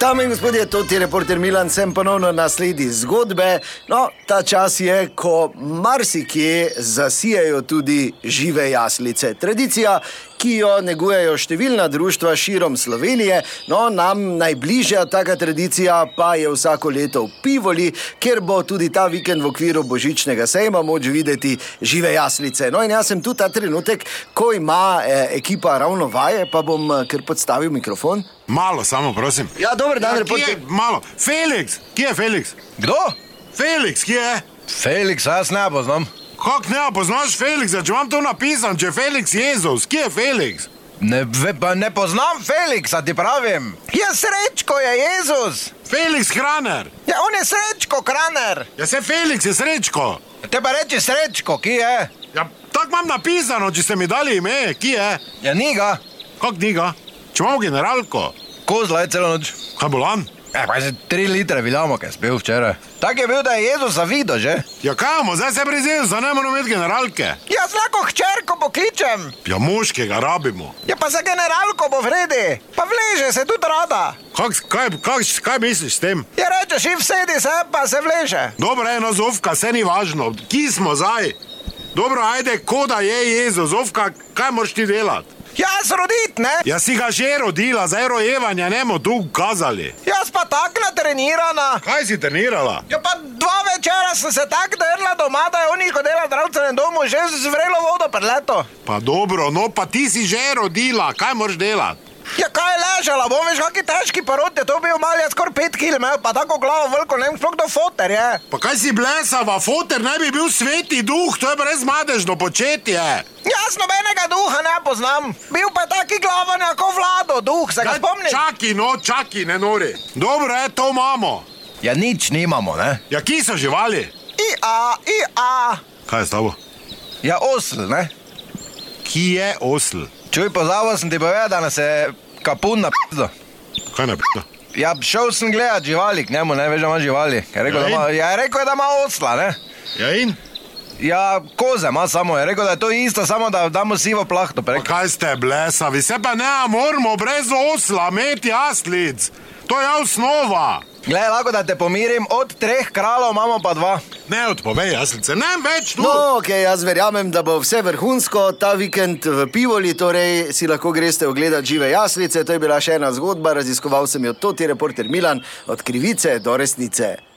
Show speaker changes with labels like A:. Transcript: A: Dame in gospodje, to je reporter Milan, sem ponovno na sledi zgodbe. No, ta čas je, ko marsikje zasijajo tudi žive jaslice. Tradicija, ki jo negujejo številna društva širom Slovenije, no, nam najbližja taka tradicija pa je vsako leto v Pivoli, kjer bo tudi ta vikend v okviru božičnega sejma moč videti žive jaslice. No, in jaz sem tu ta trenutek, ko ima eh, ekipa ravno vaje, pa bom eh, kar podstavil mikrofon.
B: Malo, samo prosim.
A: Ja, dober dan,
B: Ja, kje
A: reporter.
B: je, malo. Felix, kje je Felix?
C: Kdo?
B: Felix, kje je?
C: Felix, jaz ne poznam.
B: Kak ne poznaš Felixa, če vam to napisam, če je Felix Jezus, kje je Felix?
C: Ne, ve- pa ne poznam Felixa, ti pravim. Ja, srečko je Jezus.
B: Felix Hraner.
C: Ja, on je srečko, kraner.
B: Ja se Felix je srečko.
C: Te pa reči srečko, ki je.
B: Ja, tako imam napisano, če ste mi dali ime, kje je?
C: Ja, ni ga.
B: Kak ni ga? Če imamo generalko,
C: Kozla je celo noč.
B: kaj bolan?
C: Ja, pa že tri litre vidamo, kaj spil včeraj. Tak je bil, da je Jezus zavidel že.
B: Ja kamo, zdaj se prezel, za ne moramo imeti generalke.
C: Jaz Ja, lahko hčerko pokličem.
B: Ja moškega rabimo.
C: Ja, pa za generalko bo vredi. Pa vleže se tudi rada.
B: Kak, kaj, kak, kaj misliš s tem?
C: Ja, rečeš, in vsedi se, pa se vleže.
B: Dobro, eno zovka, se ni važno, ki smo zdaj. Dobro, ajde, koda je jezo, zovka, kaj moraš ti delati?
C: Ja, Jaz rodit, ne?
B: Jaz si ga že rodila, za rojevanje ne bomo tu ukazali.
C: Jaz pa tak natrenirana.
B: Kaj si trenirala?
C: Ja, pa dva večera sem se tako drla doma, da je oni hodila v zdravstvenem domu že z vrelo vodo preleto.
B: Pa dobro, no pa ti si že rodila, kaj moraš delati?
C: Ja, kaj je ležala, bom veš, kakšen težki porod je to bil, mal je skoraj pet kil, imel pa tako glavo veliko, ne vem, sploh do foter je.
B: Pa kaj si blesava, foter naj bi bil sveti duh, to je brezmadežno početje.
C: Jaz nobenega duha ne poznam, bil pa je taki glava nekako vlado, duh, se ga
B: Daj,
C: spomniš?
B: Čaki, no, čaki, ne nori. Dobro, je, to imamo.
C: Ja, nič nimamo, ne?
B: Ja, ki so živali?
C: I a, i a.
B: Kaj je s tabo?
C: Ja, osl, ne?
B: Ki je osl?
C: Čuj, pozabil sem ti povedal, da nas je kapun napisal.
B: Kaj ne pita?
C: Ja, šel sem gledat živali, k njemu ne veš, da ima živali. Je rekel,
B: Ja
C: da
B: in?
C: ima, ja, je rekel je, da ima osla, ne?
B: Ja in?
C: Ja, koze ima samo, je rekel, da je to isto, samo da damo sivo plahto. pa je
B: Pa
C: rekel,
B: kaj ste blesavi, se pa ne moramo brez osla imeti jaslic. To je osnova.
C: Glej, lahko da te pomirim, od treh kralov imamo pa dva.
B: Ne odpovej jaslice, ne več tu.
A: No, okay, jaz verjamem, da bo vse vrhunsko ta vikend v Pivoli, torej si lahko greste ogledati žive jaslice. To je bila še ena zgodba, raziskoval sem jo, to ti reporter Milan, od krivice do resnice.